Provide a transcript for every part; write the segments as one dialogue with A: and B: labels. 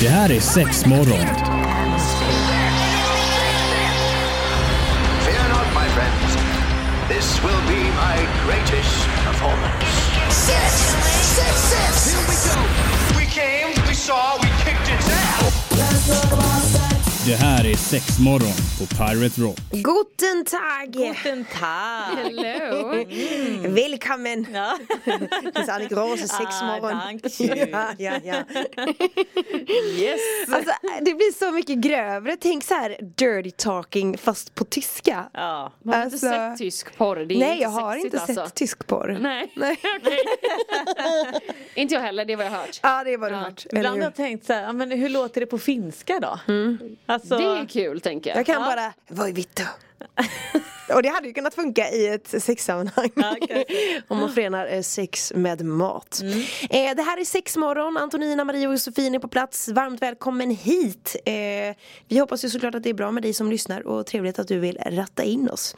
A: Det här är sex morgon.
B: Fear not, my friends. This will be my greatest performance.
C: Six, six, six. Here we go.
B: We came, we saw, we kicked its ass.
A: Det här är sex morgon på Pirate Rock.
D: Guten Tag!
E: Guten Tag!
F: Hello! Mm.
D: Willkommen!
E: Ja.
D: Das ist eine große Sexmorgon.
E: Ah, Dankeschön.
D: ja, ja, ja.
E: Yes!
D: Alltså, det blir så mycket grövre. Tänk så här dirty talking fast på tyska.
E: Ja.
F: Man har inte
D: Alltså-
F: sett tysk porr, det är
D: Nej,
F: inte
D: jag har
F: sexigt
D: inte sett
F: alltså.
D: tysk porr.
F: Nej,
D: Nej.
F: okej. inte jag heller, det är vad jag har hört.
D: Ja, det är vad du
F: Ja.
D: hört. eller
E: Ibland har
D: hur?
E: jag tänkt så här, ja, men hur låter det på finska då? Alltså,
F: Det är kul tänker jag.
D: Jag kan bara, voi vittu. Och det hade ju kunnat funka i ett sexsammanhang.
E: Ja, kanske.
D: Om man förenar eh, sex med mat. Eh, det här är Sexmorgon. Antonina, Marie och Josefin är på plats. Varmt välkommen hit. Eh, vi hoppas ju såklart att det är bra med dig som lyssnar och trevligt att du vill ratta in oss.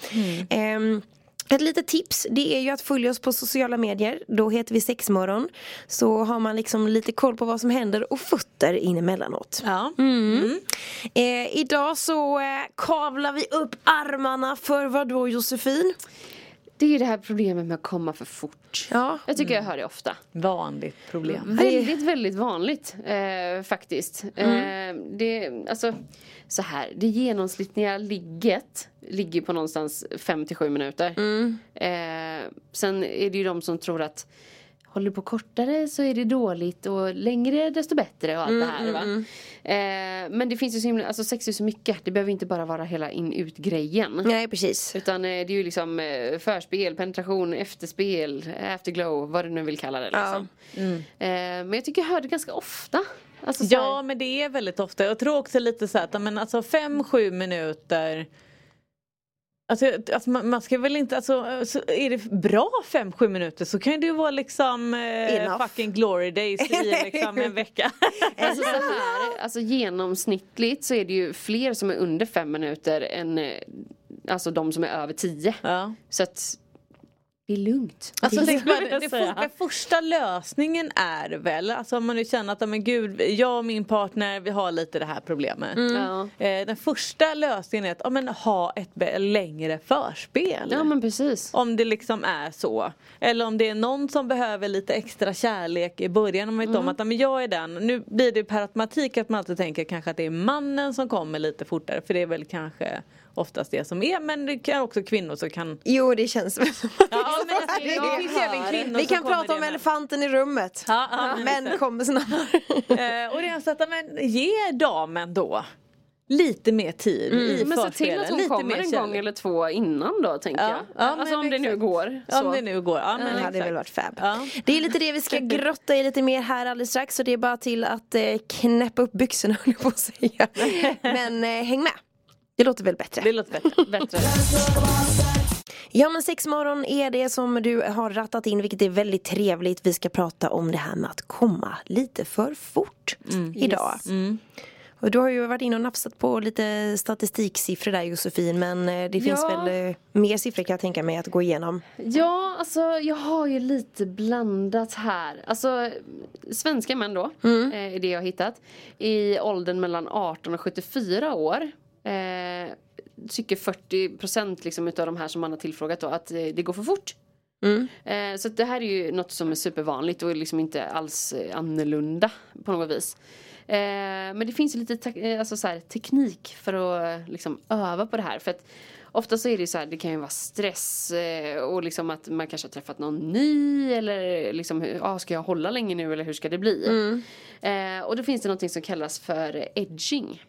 D: Ehm, ett litet tips det är ju att följa oss på sociala medier. Då heter vi Sexmorgon. Så har man liksom lite koll på vad som händer och fötter in emellanåt.
E: ja.
D: Mm. Eh, idag så eh, kavlar vi upp armarna för vad då Josefin?
F: Det är ju det här problemet med att komma för fort.
D: Ja. Mm.
F: Jag tycker jag hör det ofta.
E: Vanligt problem.
F: Väldigt, väldigt vanligt eh, faktiskt. Eh, det, alltså, så här, det genomsnittliga ligget ligger på någonstans 5-7 minuter. Eh, sen är det ju de som tror att håller du på kortare så är det dåligt och längre desto bättre och allt det här. Va? Eh, men det finns ju så himla, alltså sex är så mycket. Det behöver inte bara vara hela in-ut-grejen.
D: Nej precis.
F: Utan eh, det är ju liksom eh, förspel, penetration, efterspel, afterglow, vad du nu vill kalla det. Liksom.
E: Mm.
F: Eh, Men jag tycker jag hör det ganska ofta. Alltså, så
E: Ja
F: här-
E: men det är väldigt ofta. Jag tror också lite så här att ja, men alltså fem, sju minuter Alltså, alltså man, man ska väl inte, alltså så är det bra fem, sju minuter så kan det ju vara liksom eh,
D: Enough.
E: fucking glory days i liksom en vecka.
F: Alltså, så här, alltså genomsnittligt så är det ju fler som är under fem minuter än eh, alltså de som är över tio.
E: ja.
F: Så att det är lugnt.
E: Alltså,
F: det,
E: tänk man,
F: jag
E: det
F: säga.
E: for, den första lösningen är väl, alltså om man nu känner att ja, men gud, jag och min partner vi har lite det här problemet.
F: ja.
E: Eh, den första lösningen är att ja, men, ha ett be- längre förspel.
F: ja men precis.
E: Om det liksom är så. Eller om det är någon som behöver lite extra kärlek i början. Om man vet
F: Mm.
E: om att ja, men jag är den. Nu blir det per automatik att man alltid tänker kanske att det är mannen som kommer lite fortare. För det är väl kanske oftast det som är. Men det kan också kvinnor som kan
D: Jo det känns väl som
E: Ja, men alltså,
F: det
E: det finns ju även
F: hör.
E: kvinnor
D: Vi
E: som
D: kan
E: kommer
D: prata om
E: det med.
D: elefanten i rummet.
E: Ja, ja, men-
D: Män kommer snarare.
E: Eh, och det är så att, ja, men ge damen då lite mer tid i
F: Mm, Men se till
E: förspelen,
F: att hon
E: lite
F: kommer
E: mer
F: en
E: kärlek.
F: gång eller två innan då tänker
E: Ja,
F: jag.
E: ja,
F: alltså
E: men
F: om det nu
E: exakt.
F: går.
E: Ja,
F: så.
E: Om det nu går. Ja, men
D: Det hade
E: exakt.
D: väl varit fab.
E: Ja.
D: Det är lite det vi ska grotta i lite mer här alldeles strax. Så det är bara till att eh, knäppa upp byxorna höll jag på att säga. Men eh, häng med. Det låter väl bättre.
E: Det låter bättre.
F: Bättre.
D: Ja men sexmorgon är det som du har rattat in vilket är väldigt trevligt. Vi ska prata om det här med att komma lite för fort
E: Mm.
D: idag. Och du har ju varit inne och nafsat på lite statistiksiffror där Josefin men eh, det finns
F: Ja.
D: väl eh, mer siffror kan jag tänka mig att gå igenom.
F: Ja, alltså jag har ju lite blandat här. Alltså svenska män då, eh, är det jag har hittat. I åldern mellan 18 och 74 år. Eh, tycker 40% liksom utav de här som man har tillfrågat då att eh, det går för fort.
D: Mm.
F: Eh, så att det här är ju något som är supervanligt och är liksom inte alls eh, annorlunda på något vis. Eh, men det finns ju lite te- eh, alltså så här, teknik för att eh, liksom, öva på det här. För att ofta så är det ju så här, det kan ju vara stress eh, och liksom att man kanske har träffat någon ny eller liksom, hur- ah, ska jag hålla länge nu eller hur ska det bli?
D: Mm.
E: Mm.
F: Eh, och då finns det någonting som kallas för edging.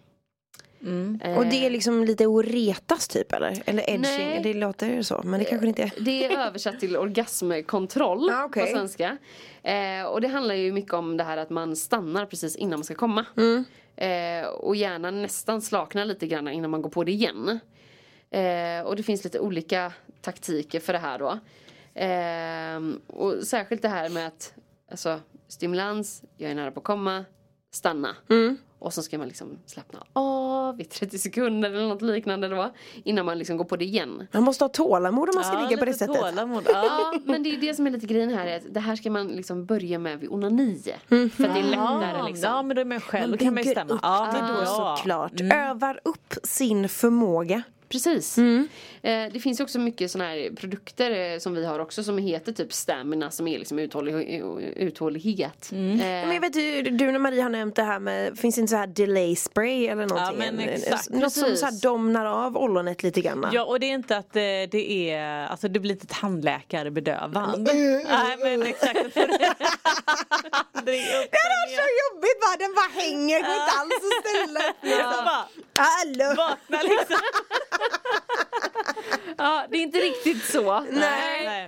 E: Mm.
D: Och det är liksom lite att retas typ eller? Eller edging,
F: Nej.
D: det låter ju så men det kanske det inte är.
F: Eh, Det är översatt till orgasmkontroll
D: Ja, okej.
F: på svenska. Eh, och det handlar ju mycket om det här att man stannar precis innan man ska komma.
D: Mm.
F: Eh, och hjärnan nästan slaknar lite grann innan man går på det igen. Eh, och det finns lite olika taktiker för det här då. Eh, och
D: Mm.
F: särskilt det här med att alltså, stimulans, jag är nära på att komma, stanna. Och så ska man liksom slappna av i 30 sekunder eller något liknande då. Innan man liksom går på det igen.
D: Man måste ha tålamod om man ska
E: Ja,
D: ligga på det
E: lite
D: sättet.
E: tålamod. Ja.
F: Ja, men det är det som är lite grejen här. Är att det här ska man liksom börja med vid onani. För att det är lättare
E: Mm. Ja,
F: liksom.
E: ja men då är man själv, då
D: Man
E: kan man ju
D: bygger
E: stämma.
D: upp
E: ja,
D: det då
E: ja. Mm.
D: såklart. Övar upp sin förmåga.
F: Precis.
E: Mm.
F: Eh, det finns ju också mycket sådana här produkter eh, som vi har också som heter typ stamina som är liksom uthållig, uthållighet.
E: Mm.
F: Eh,
D: Men jag vet ju, du när Marie har nämnt det här med, finns det inte så här delay spray eller någonting? Eh,
E: men exakt,
D: Något som
F: precis.
D: så här domnar av ollonet lite grann.
E: Ja och det är inte att eh, det är, alltså det blir lite tandläkarbedövande.
F: Mm.
E: Nej men exakt. Det är upp
D: Det var så jobbigt va, den bara hänger, går inte alls att ställa upp.
E: liksom. Bara
D: Hallå!
E: Vakna liksom.
F: Ja, det är inte riktigt så.
E: Nej.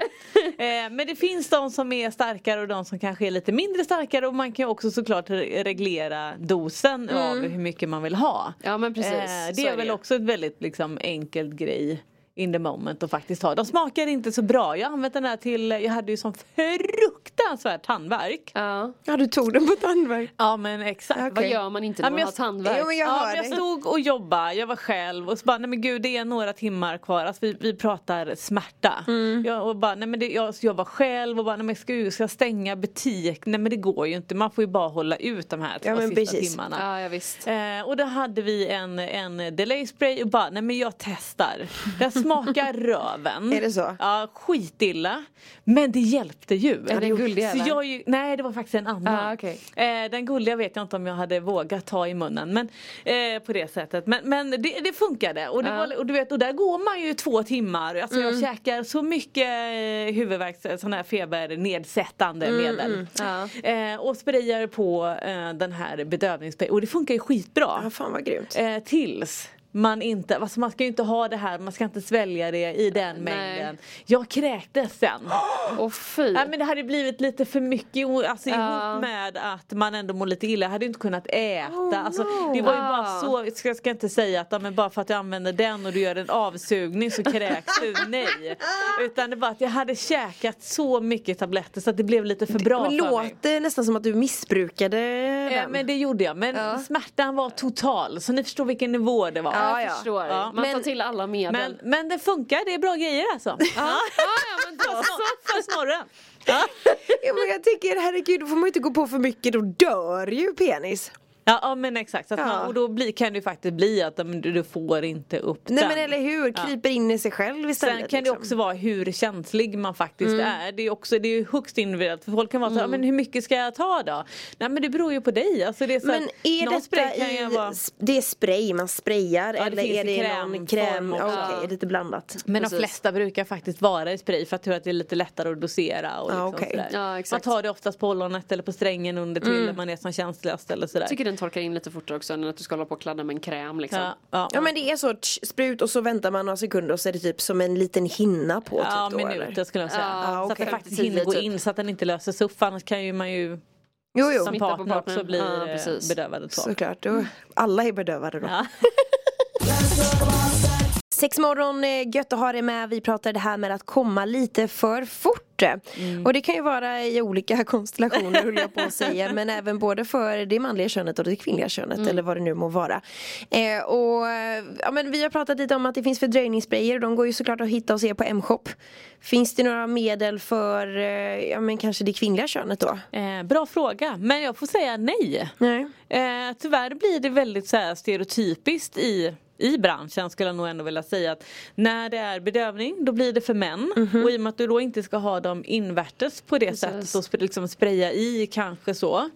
E: Eh, Men det finns de som är starkare och de som kanske är lite mindre starkare och man kan ju också såklart re- reglera dosen av hur mycket man vill ha.
F: Mm. Ja, men precis.
E: Eh,
F: Så
E: Det är
F: är
E: väl
F: det ju.
E: också ett väldigt liksom, enkelt grej in the moment och faktiskt ha. De smakar inte så bra. Jag har använt den här till, jag hade ju sån fruktansvärd tandvärk.
F: Ja.
D: Ja du tog den på tandvärk.
E: Ja men exakt.
F: Vad gör man inte när
E: Ja, men
F: man
E: jag-
F: har tandvärk?
D: Jo, men jag
E: ja,
D: hör
E: men jag
D: dig.
E: stod och jobbade, jag var själv och så bara nej men gud det är några timmar kvar, alltså, vi, vi pratar smärta.
D: Mm.
E: Jag, och bara, nej, men det, jag, så jag var själv och bara nej men ska, jag- ska jag stänga butik? Nej men det går ju inte, man får ju bara hålla ut de här två
D: Ja, men
E: sista
D: precis.
E: timmarna.
F: Ja, ja visst.
E: Eh, och då hade vi en, en delay spray och bara, nej men jag testar. Jag smakar röven.
D: Är det så?
E: Ja, skitilla. Men det hjälpte ju.
F: Är det en guldig,
E: så
F: eller?
E: jag, ju- Nej, det var faktiskt en annan.
F: Ah, okej.
E: eh, den gulliga vet jag inte om jag hade vågat ta i munnen. Men, eh, på det sättet. Men, men det, det funkade. Och, det
F: Ja. Mm.
E: var, och, du vet, och där går man ju två timmar. Alltså, Jag käkar så mycket eh, huvudvärk, sån här febernedsättande medel.
F: Mm, Ja.
E: Eh, och sprayar på eh, den här bedövningssprayen och det funkar ju
D: Ja
E: skitbra.
D: fan vad grymt.
E: Eh, tills man inte, alltså man ska ju inte ha det här, man ska inte svälja det i den
F: Nej.
E: mängden. Jag kräktes sen.
F: Och fy.
E: Nej men det hade blivit lite för mycket o- alltså,
F: Ja.
E: ihop med att man ändå mår lite illa. Jag hade ju inte kunnat äta. alltså, Det var ju
F: Ah.
E: bara så, jag ska, jag ska inte säga att ja, men bara för att jag använder den och du gör en avsugning så kräks du. Nej. Utan det var att jag hade käkat så mycket tabletter så att det blev lite för Eh, bra
D: Men
E: för mig.
D: låter nästan som att du missbrukade
E: Eh,
D: den.
E: Men det gjorde jag. Men smärtan var total. Så ni förstår vilken nivå det var.
F: Ja,
D: ja.
F: jag förstår.
E: Ja.
F: Man tar
E: Men-
F: till alla medel.
E: Men, men det funkar, det är bra grejer alltså. Ja.
F: Ja, ja, men då så.
E: För snorren.
D: Jo, men jag tänker herregud, då får man ju inte gå på för mycket, då dör ju penis.
E: Ja, ja men exakt. Så att
D: Ja.
E: man, och då blir, kan det ju faktiskt bli att men, du, du får inte upp
D: Nej
E: den.
D: men eller hur, kryper in i sig själv
E: Sen
D: istället.
E: kan det
D: liksom. Mm.
E: också vara hur känslig man faktiskt är. Det är ju också, det är ju högst individuellt. För folk kan vara så här, men hur mycket ska jag ta då? Nej men det beror ju på dig. Alltså, det är så
D: Men
E: att
D: är
E: någon
D: detta
E: spray kan ju
D: i,
E: vara-
D: det är spray man sprayar
E: det
D: eller
E: finns
D: är
E: i
D: det någon
E: krämform
D: kräm?
E: också.
D: Okej, lite blandat.
E: Men de
F: Precis.
E: flesta brukar faktiskt vara i spray för att tror att det är lite lättare att dosera. Och
D: Ja,
E: liksom
D: okej. Mm.
E: sådär.
F: Ja,
E: man
F: exakt.
E: tar det oftast på ollonet eller på strängen under till när man är som känsligast eller sådär.
F: Jag tycker den torkar in lite fortare också än att du ska hålla på och kladda med en kräm liksom.
E: ja, ja.
D: Ja men det är så tsch, sprut och så väntar man några sekunder och så är det typ som en liten hinna på
E: Ja,
D: typ då, eller?
E: minuter skulle jag säga.
F: Ja,
E: så att
D: okej.
E: den faktiskt
F: 10
E: hinner gå
F: typ.
E: in så att den inte löses upp för annars kan ju man ju
D: Jo jo,
E: som
F: Smitta på
E: partner också
F: partnern.
E: bli
F: Ja,
E: eh,
F: precis.
E: bedövad. och Så.
D: såklart. Då, alla är bedövade då.
E: Ja.
D: Sexmorgon, eh, gött att ha dig med. Vi pratar det här med att komma lite för fort. Och det kan ju vara i olika konstellationer höll jag på att säga. Men även både för det manliga könet och det kvinnliga könet eller vad det nu må vara. Eh, och, eh, ja, men vi har pratat lite om att det finns fördröjningssprayer. De går ju såklart att hitta och se på M-shop. Finns det några medel för eh, ja, men kanske det kvinnliga könet då?
E: Eh, bra fråga men jag får säga nej.
D: Nej.
E: Eh, tyvärr blir det väldigt så här, stereotypiskt i i branschen skulle jag nog ändå vilja säga att när det är bedövning då blir det för män och i och med att du då inte ska ha dem invärtes på det sättet och sp- liksom spraya i kanske så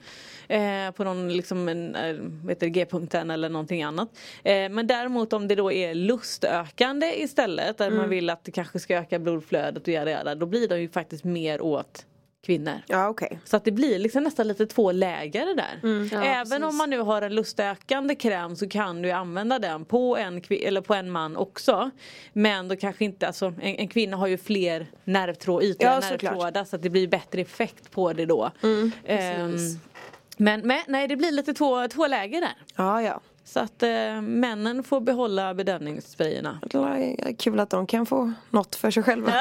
E: eh, på någon liksom en, eh, vet du, g-punkten eller någonting annat. Eh, men däremot om det då är lustökande istället där man vill att det kanske ska öka blodflödet och göra det då blir de ju faktiskt mer åt kvinnor.
D: Ja okej.
E: Så att det blir liksom nästan lite två läger det där.
F: Ja,
E: Även
F: precis.
E: om man nu har en lustökande kräm så kan du ju använda den på en, kvi- eller på en man också. Men då kanske inte, alltså, en, en kvinna har ju fler nervtråd, ytliga
D: Ja, såklart.
E: nervtrådar så att det blir bättre effekt på det då. Ehm, men, men nej det blir lite två, två läger där.
D: Ja ja.
E: Så att eh, männen får behålla bedövningssprayerna.
D: Det är Kul att de kan få något för sig själva.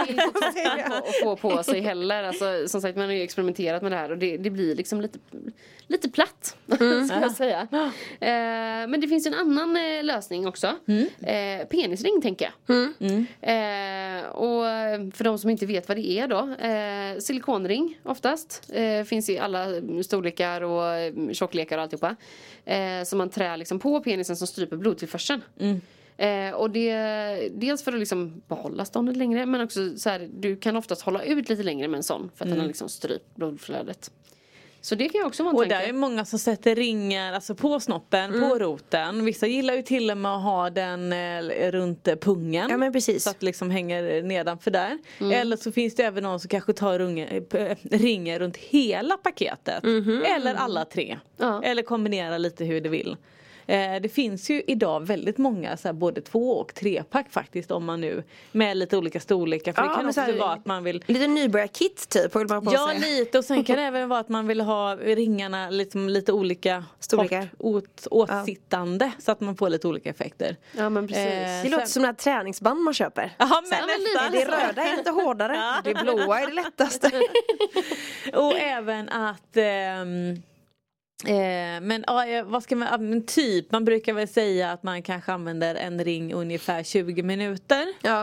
F: att få på sig heller. Alltså, som sagt man har ju experimenterat med det här och det, det blir liksom lite, lite platt. ska jag säga. Eh, men det finns en annan eh, lösning också. Eh, penisring tänker jag. Mm. Eh, och eh, för de som inte vet vad det är då. Eh, silikonring oftast. Eh, finns i alla mm, storlekar och mm, tjocklekar och alltihopa. Eh, som man trär liksom på penisen som stryper blodtillförseln. Eh, och det, dels för att liksom behålla ståndet längre men också så här, du kan oftast hålla ut lite längre med en sån för att den har liksom strypt blodflödet. Så det kan ju också vara en
E: Och
F: tanke.
E: där är många som sätter ringar alltså på snoppen,
D: Mm.
E: på roten. Vissa gillar ju till och med att ha den eh, runt eh, pungen.
D: Ja, men precis. Mm.
E: Så att det liksom hänger nedanför där. Eller så finns det även någon som kanske tar runge, eh, p- eh, ringer runt hela paketet.
D: Mhm.
E: Eller alla tre.
F: Ja.
E: Eller kombinera lite hur du vill. Eh, Det finns ju idag väldigt många så här, både två och trepack faktiskt om man nu med lite olika storlekar. För
D: Ja,
E: det kan
D: men så
E: också
D: här-
E: vara att man vill
D: Lite nybörjarkit typ vill man på
E: Ja
D: sig.
E: lite och sen kan det även vara att man vill ha ringarna liksom lite olika
D: Storlekar.
E: hårt åt, åtsittande så att man får lite olika effekter.
F: Ja men precis.
E: Eh,
D: Det låter
E: sen-
D: som några träningsband man köper.
E: Ja
D: Så
E: alltså.
D: här,
E: men
D: är
E: nästan.
D: det röda är lite hårdare, det blåa är det lättaste.
E: Och även att ehm, Eh, men ja, eh, vad ska man, ja, men typ man brukar väl säga att man kanske använder en ring ungefär 20 minuter.
D: Ja.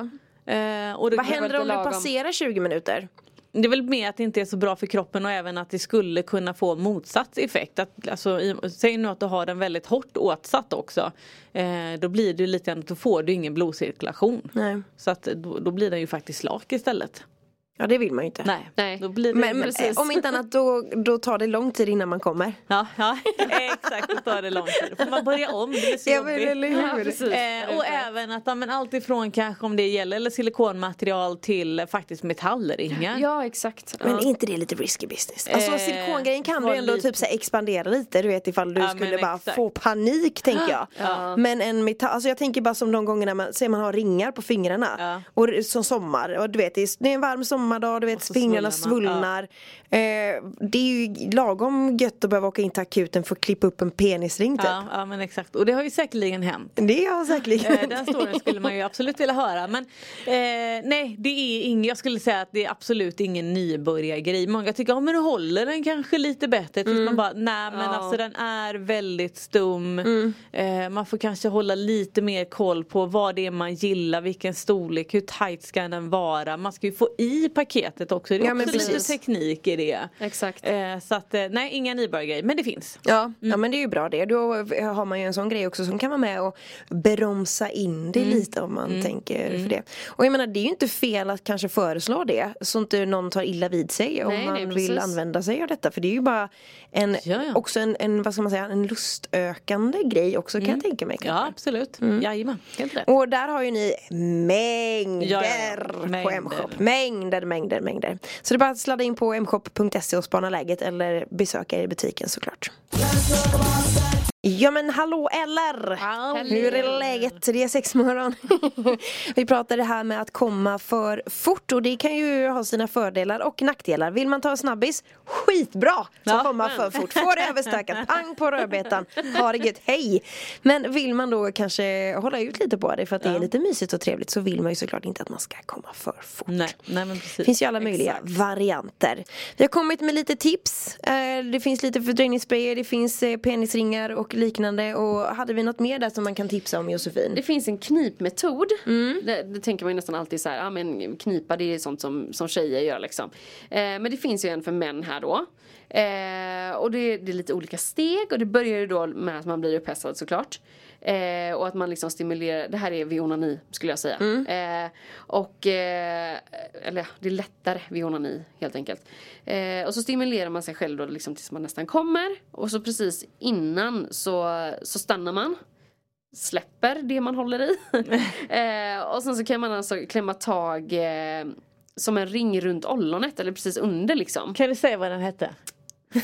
E: Eh, och då
D: Vad
E: kan-
D: händer om det
F: lagom.
D: passerar 20 minuter?
E: Det är väl mer att det inte är så bra för kroppen och även att det skulle kunna få motsatt effekt. Att, alltså, i, säg nu att du har den väldigt hårt åtsatt också. Eh, då blir det ju lite grann, då får du ingen blodcirkulation.
D: Nej.
E: Så att, eh, då, då blir den ju faktiskt slak istället.
D: Ja det vill man ju inte.
E: Nej.
F: Nej.
E: Då blir det
D: Men, men
F: Precis.
D: eh, om inte annat då, då tar det lång tid innan man kommer.
E: Ja, ja exakt. Då tar det lång tid. Då får man börja om. Det blir så
D: Ja, men
E: jobbigt.
D: eller hur?
F: Ja, precis.
E: Eh, och även att ja, men allt ifrån kanske om det gäller eller silikonmaterial till eh, faktiskt metallringar.
F: Ja exakt.
D: Men
F: ja.
D: är inte det lite risky business? Alltså
E: Eh,
D: silikongrejen kan du
E: var
D: ändå
E: lite-
D: typ så här expandera lite, du vet ifall du
E: Ja,
D: skulle
E: men
D: bara
E: exakt.
D: få panik tänker jag. Men en metall, alltså jag tänker bara som de gångerna man, säger man har ringar på fingrarna
E: Ja.
D: och det- som sommar och du vet det är det är en varm sommardag, du vet
E: så
D: fingrarna
E: svullnar
D: svullnar. Eh, det är ju lagom gött att behöva åka in till akuten för att klippa upp en penisring typ.
E: ja, ja men exakt. Och det har ju säkerligen hänt.
D: Det har säkerligen
E: Eh, Den storyn skulle man ju absolut vilja höra. Men eh, nej, det är ingen, jag skulle säga att det är absolut ingen nybörjargrej. Många tycker, ja men nu håller den kanske lite bättre.
D: Mm.
E: Tills man bara, nej men
F: Ja.
E: alltså den är väldigt stum.
D: Mm.
E: Eh, man får kanske hålla lite mer koll på vad det är man gillar, vilken storlek, hur tight ska den vara. Man ska ju få i paketet också. Det är
D: Ja, men
E: också lite
D: precis.
E: teknik i det.
F: Exakt.
E: Eh, så att, eh, nej, inga nybörjargrej. Men det finns.
D: Ja, ja men det är ju bra det. Då har man ju en sån grej också som kan vara med och bromsa in det lite om man tänker för det. Och jag menar det är ju inte fel att kanske föreslå det så inte någon tar illa vid sig om
F: Nej,
D: man
F: nej,
D: vill
F: precis.
D: använda sig av detta. För det är ju bara en,
E: Ja, ja.
D: också en, en, vad ska man säga, en lustökande grej också kan jag tänka mig.
E: Ja, absolut.
D: Mm.
E: Jajamän, helt rätt.
D: Och där har ju ni mängder
E: Ja, ja, ja.
D: på
E: Mängder.
D: M-shop. Mängder, mängder, mängder. Så det är bara att sladda in på mshop.se och spana läget eller besöka er i butiken såklart. Ja men hallå eller! Hur är läget? Det är sex morgon. Vi pratade här med att komma för fort och det kan ju ha sina fördelar och nackdelar. Vill man ta en snabbis, skitbra! Att
E: Ja,
D: komma för fort. Få det överstökat, pang på rödbetan. Ha det gött, hej! Men vill man då kanske hålla ut lite på det för att det är lite mysigt och trevligt så vill man ju såklart inte att man ska komma för fort.
E: Nej, nej men precis.
D: Det finns ju alla möjliga varianter. Vi har kommit med lite tips. Eh, Det finns lite fördröjningssprayer, det finns eh, penisringar och liknande. Och hade vi något mer där som man kan tipsa om
F: Det
D: Josefin?
F: finns en knipmetod. Det, det tänker man ju nästan alltid så här, ah, men knipa det är sånt som, som tjejer gör liksom. Eh, men det finns ju en för män här då. Eh, och det, det är lite olika steg och det börjar ju då med att man blir upphetsad såklart. Eh, och att man liksom stimulerar, det här är vid onani skulle jag säga. Eh, och, eh, eller ja, det är lättare vid onani helt enkelt. Eh, och så stimulerar man sig själv då liksom tills man nästan kommer. Och så precis innan så, så stannar man släpper det man håller i. eh, och sen så kan man alltså klämma tag eh, som en ring runt ollonet eller precis under liksom.
E: Kan du säga vad den hette?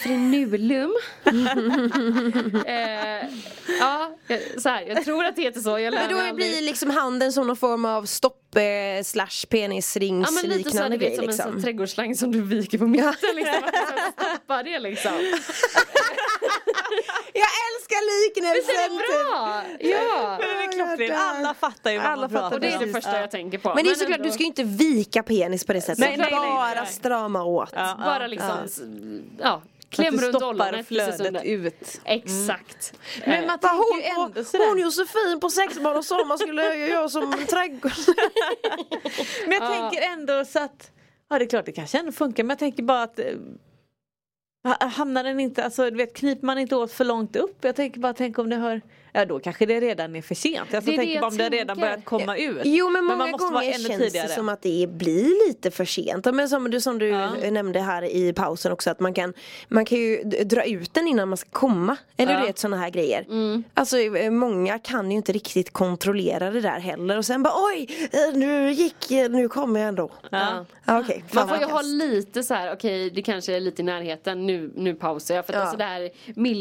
F: Frenulum. eh, ja, jag- så här, jag tror att det heter så. Jag lär
D: Men
F: mig
D: då
F: aldrig.
D: blir liksom handen som någon form av stopp eh, slash
F: Ja men lite så här,
D: penisringsliknande
F: du vet
D: grej
F: som en sån
D: liksom.
F: trädgårdsslang som du viker på mitten liksom. Att du ska Stoppa det liksom.
D: Jag älskar
F: Visst är det
D: liknelsen! typ.
F: bra? Ja.
E: Men det är klockrent.
D: Ja, där.
E: Alla fattar ju vad
D: Alla
E: man
D: fattar
E: pratar
F: Och det är
E: om.
F: det första jag tänker på.
D: Men det är
F: Men
D: såklart,
F: ändå.
D: du ska ju inte vika penis på det sättet.
E: Nej, nej, nej,
D: bara
E: nej.
D: strama åt.
E: Ja, ja.
F: Bara liksom, s- ja, Kläm
E: att du
F: runt
E: stoppar
F: ollonet precis
E: flödet
F: under.
E: ut.
D: Mm.
F: Exakt.
E: Men man
D: Vad
E: tänker
D: hon,
E: ju ändå
D: på,
E: sådär.
D: hon Josefin på sexbarn och sommar skulle jag som trädgård.
E: Men jag tänker ändå så att Ja det är klart det kanske ändå funkar men jag tänker bara att eh, ha- Hamnar den inte, alltså du vet kniper man inte åt för långt upp? Jag tänker bara tänk om det hör Ja då kanske det redan är för sent. Alltså, jag
F: Det är det
E: tänker
F: jag
E: bara om det redan
F: tänker.
E: börjat komma ut.
D: Jo men många
E: man måste vara
D: gånger
E: ännu
D: känns
E: tidigare.
D: det som att det blir lite för sent. Ja, Men som du, som du eh, nämnde här i pausen också att man kan Man kan ju d- dra ut den innan man ska komma. Eller
E: Ja. Mm.
D: du vet sådana här grejer. Alltså eh, många kan ju inte riktigt kontrollera det där heller och sen bara oj eh, nu gick eh, nu kommer jag ändå.
E: Ja.
D: Ja, Okej.
F: Man
D: Fan
F: får
D: vad
F: ju ha
D: kast.
F: lite så här, okej det kanske är lite i närheten, nu, nu pausar jag. För att
D: Ja.
F: alltså det här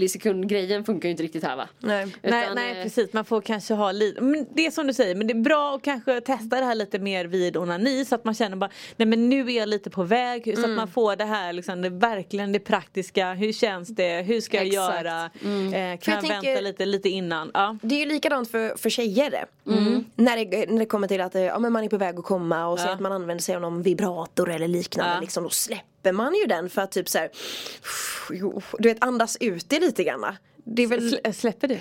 F: millisekundgrejen funkar ju inte riktigt här va?
D: Nej.
E: Nej,
F: Utan,
E: nej
F: eh,
E: precis, man får kanske ha lite, men det är som du säger, men det är bra att kanske testa det här lite mer vid onani så att man känner bara nej men nu är jag lite på väg så
D: Mm.
E: att man får det här liksom, det, verkligen det praktiska, hur känns det, hur ska jag
F: Exakt.
E: göra, eh,
D: Mm. För
E: kan
D: jag
E: jag,
D: tänker-
E: vänta lite, lite innan. Ja.
D: Det är ju likadant för, för tjejer.
E: Mm.
D: Mm. När, det, när det kommer till att eh, ja, men man är på väg att komma och så
E: Ja.
D: att man använder sig av någon vibrator eller liknande.
E: Ja.
D: Liksom, då släpper man ju den för att typ så här, jo, du vet andas ut det lite grann. Det är väl,
E: Sl- Släpper du?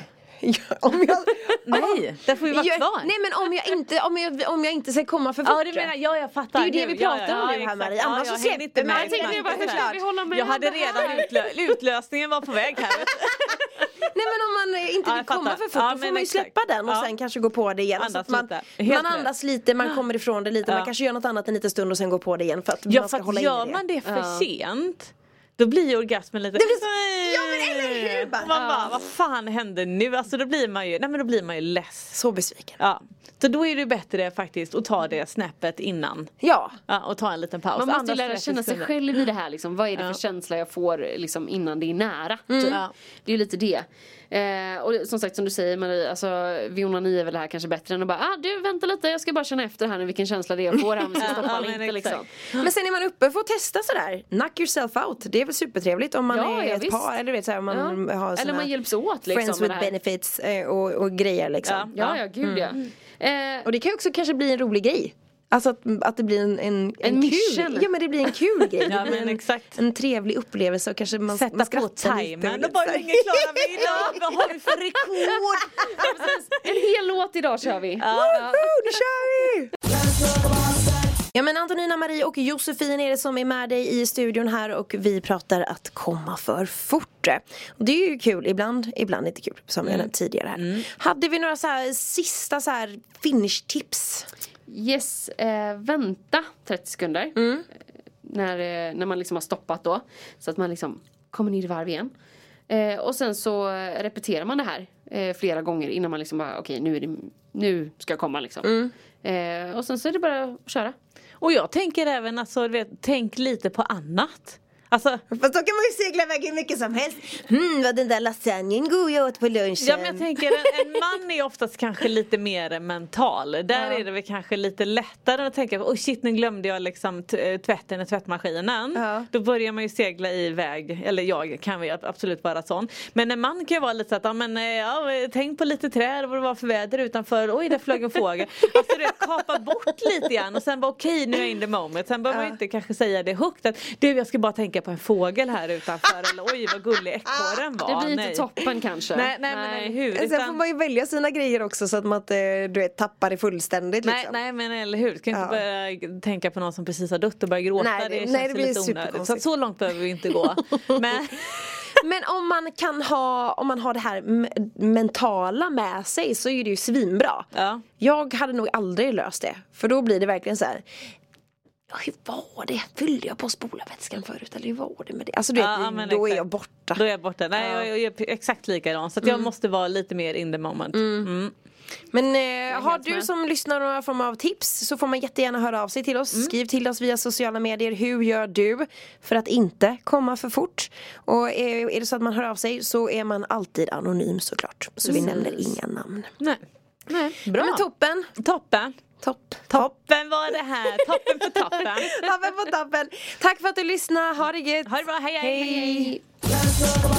D: om jag,
E: Nej, det får ju vara
D: jag,
E: kvar.
D: Nej men om jag inte, om jag, om jag inte ska komma för fort.
E: Ja du menar, ja jag fattar.
D: Det är ju det
E: nu.
D: vi pratar
E: ja,
D: om nu
E: ja,
D: här,
E: exakt.
D: Marie.
E: Ja,
D: Annars
E: jag
D: så
E: hänger
D: släpper
E: inte
D: man.
E: med.
D: Jag tänkte
E: exakt,
D: det bara, hur
E: exakt.
D: ska vi
F: hålla med
E: Jag hade
F: det här?
E: redan utlö- utlösningen var på väg här. vet du.
D: Nej men om man eh, inte
E: Ja,
D: vill
E: jag fattar.
D: komma för fort
E: Ja,
D: då får
E: men
D: man ju
E: exakt.
D: släppa den och
E: Ja.
D: sen kanske gå på det igen. Så
E: Andas
D: att man,
E: lite. Helt
D: man
E: rätt.
D: andas lite, man kommer ifrån det lite, man
E: Ja.
D: kanske gör något annat en liten stund och sen går på det igen för att
E: Ja
D: man ska
E: för
D: hålla
E: att
D: in
E: gör
D: i
E: man det för
F: Ja.
E: sent då blir ju orgasmen lite
D: Det blir så- Ja, men eller hur, bara?
E: Man bara, vad fan hände nu? Alltså då blir man ju, nej men då blir man ju less.
D: Så besviken.
E: Ja. Så då är det ju bättre faktiskt att ta det snäppet innan.
D: Ja.
E: Ja, och ta en liten paus.
F: Man måste ju
E: Andas
F: lära
E: 30
F: känna sig
E: sekunder.
F: själv i det här liksom. Vad är det för
E: Ja. Mm,
F: känsla jag får liksom innan det är nära? Typ.
E: Ja.
F: Det är ju lite det. Eh, och som sagt som du säger Marie, alltså Viona 9 är väl här kanske bättre än att bara ah, du vänta lite jag ska bara känna efter här nu vilken känsla det är jag får här om jag ska
E: Ja,
F: stoppa eller
E: men
F: inte
E: exakt.
F: liksom.
D: Men sen är man uppe för att testa sådär. Knock yourself out. Det är väl supertrevligt om man
F: Ja,
D: är
F: ja,
D: ett
F: visst.
D: par. Eller, du vet, såhär, om man
F: Ja.
D: har
F: Eller
D: såna
F: man hjälps åt, liksom,
D: Friends
F: med
D: with
F: det här.
D: benefits eh, och, och grejer liksom.
E: Ja.
F: Ja ja
E: Mm.
F: gud ja. Eh,
D: Och det kan ju också kanske bli en rolig grej. Alltså att, att det blir en, en, en,
F: mission.
D: kul Ja men det blir en kul grej. Det
E: Ja,
D: blir
E: men
D: en,
E: exakt.
D: en trevlig upplevelse och kanske man,
E: Sätta
D: man
E: på
D: skrattar lite.
E: timern och bara hur länge klarar vi idag? Vad har vi för rekord?
F: en hel låt idag kör vi.
D: Woho, nu kör vi! Ja men Antonina Marie och Josefin är det som är med dig i studion här och vi pratar att komma för fort. Och det är ju kul ibland, ibland inte kul som
E: Mm.
D: jag nämnt tidigare här. Hade vi några så här sista så här finish-tips?
F: Yes, eh, vänta 30 sekunder.
E: Mm.
F: Eh, När, eh, när man liksom har stoppat då. Så att man liksom kommer ner i varv igen. Eh, och sen så eh, repeterar man det här eh, flera gånger innan man liksom bara okej nu, är det, nu ska jag komma liksom.
E: Mm.
F: Eh, och sen så är det bara att köra.
E: Och jag tänker även alltså, du vet, tänk lite på annat. Alltså,
D: Fast då kan man ju segla iväg hur mycket som helst. Hmm, vad den där lasagnen god jag åt på lunchen.
E: Ja men jag tänker en, en man är oftast kanske lite mer mental. Där är det väl kanske lite lättare att tänka oh shit nu glömde jag liksom t- eh, tvätten i tvättmaskinen.
D: Ja.
E: Då börjar man ju segla iväg, eller jag kan väl absolut vara sån. Men en man kan ju vara lite så att, ja, men, eh, ja, tänk på lite träd och vad det var för väder utanför. Oj där flög en fågel. Alltså du vet, kapa bort lite grann och sen bara okej nu är jag in the moment. Sen behöver man ju inte kanske säga det högt att du jag ska bara tänka på en fågel här utanför. Eller oj vad gullig ekorren var.
F: det blir
E: Nej.
F: inte toppen kanske.
E: Nej, nej, men eller hur.
D: Sen
E: Utan-
D: får man ju välja sina grejer också så att man inte du vet, tappar det fullständigt.
E: nej,
D: liksom.
E: nej men eller hur. Ska
D: Ja.
E: inte börja tänka på någon som precis har dött och börja gråta.
D: Nej, det-
E: det, känns
D: nej, det blir
E: lite onödigt. Så,
D: superkonstigt.
E: att så långt behöver vi inte gå. men,
D: Men om man kan ha, om man har det här m- mentala med sig så är det ju svinbra.
E: Ja.
D: Jag hade nog aldrig löst det. För då blir det verkligen så här. "Ja, Hur var det? Fyllde jag på spolarvätskan förut? Eller hur var det med det? Alltså du
E: Ja,
D: vet,
E: men
D: då är
E: exakt.
D: jag borta.
E: då är jag borta. Nej, jag, jag är exakt likadan. Så att
D: Mm.
E: jag måste vara lite mer in the moment. Mm.
D: Men eh, har
F: helt
D: du
F: med.
D: som lyssnar några form av tips så får man jättegärna höra av sig till oss.
E: Mm.
D: Skriv till oss via sociala medier. Hur gör du för att inte komma för fort? Och eh, är det så att man hör av sig så är man alltid anonym såklart. Så vi nämner inga namn.
E: Nej.
D: Nej.
E: Bra.
D: Men toppen.
E: Toppen.
D: Topp. Topp.
E: Vem var det här? Toppen på toppen.
D: Toppen på toppen. Tack för att du lyssnade. Ha det gött.
E: Ha det bra, hej, hej.
F: Hej.
C: Let's talk about